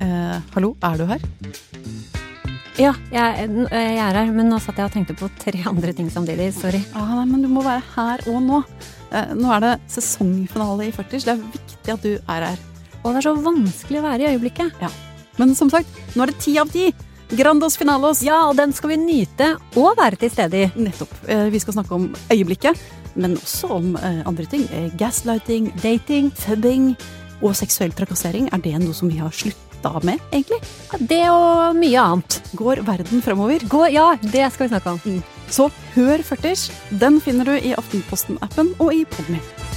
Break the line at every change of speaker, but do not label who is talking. Eh, hallo, er du her?
Ja, jeg, jeg er her, men nå satt jeg og tenkte på tre andre ting samtidig. Sorry.
Ah, nei, men du må være her og nå. Eh, nå er det sesongfinale i 40, så det er viktig at du er her.
Og det er så vanskelig å være i øyeblikket.
Men som sagt, nå er det ti av ti! Grandos finalos!
Ja, og den skal vi nyte og være til stede i.
Nettopp. Eh, vi skal snakke om øyeblikket, men også om eh, andre ting. Eh, gaslighting, dating, fubbing og seksuell trakassering. Er det noe som vi har slutta med, egentlig?
Det og mye annet.
Går verden fremover?
Gå, ja, det skal vi snakke om.
Så hør 40 Den finner du i Aftenposten-appen og i Podmy.